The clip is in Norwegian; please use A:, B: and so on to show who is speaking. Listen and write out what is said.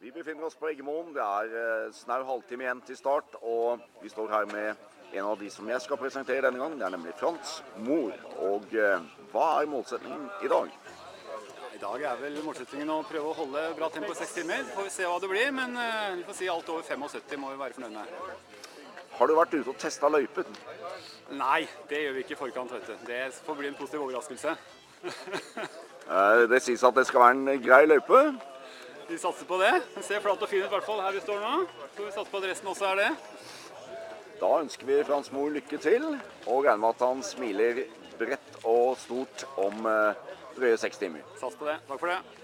A: Vi befinner oss på Eggemoen. Det er eh, snau halvtime igjen til start. Og vi står her med en av de som jeg skal presentere denne gang. Det er nemlig Frans Mor. Og eh, hva er målsettingen i dag?
B: I dag er vel målsettingen å prøve å holde bra tempo i seks timer. Får vi se hva det blir, men eh, vi får si alt over 75 må vi være fornøyd med.
A: Har du vært ute og testa løypen?
B: Nei, det gjør vi ikke i forkant, vet du. Det får bli en positiv overraskelse.
A: Eh, Det sies at det skal være en grei løype.
B: Vi satser på det. Den ser flat og fin ut i hvert fall her vi står nå. Så vi satser på at resten også er det.
A: Da ønsker vi Frans Moe lykke til, og regner med at han smiler bredt og stort om eh, drøye seks timer.
B: Sats på det. Takk for det.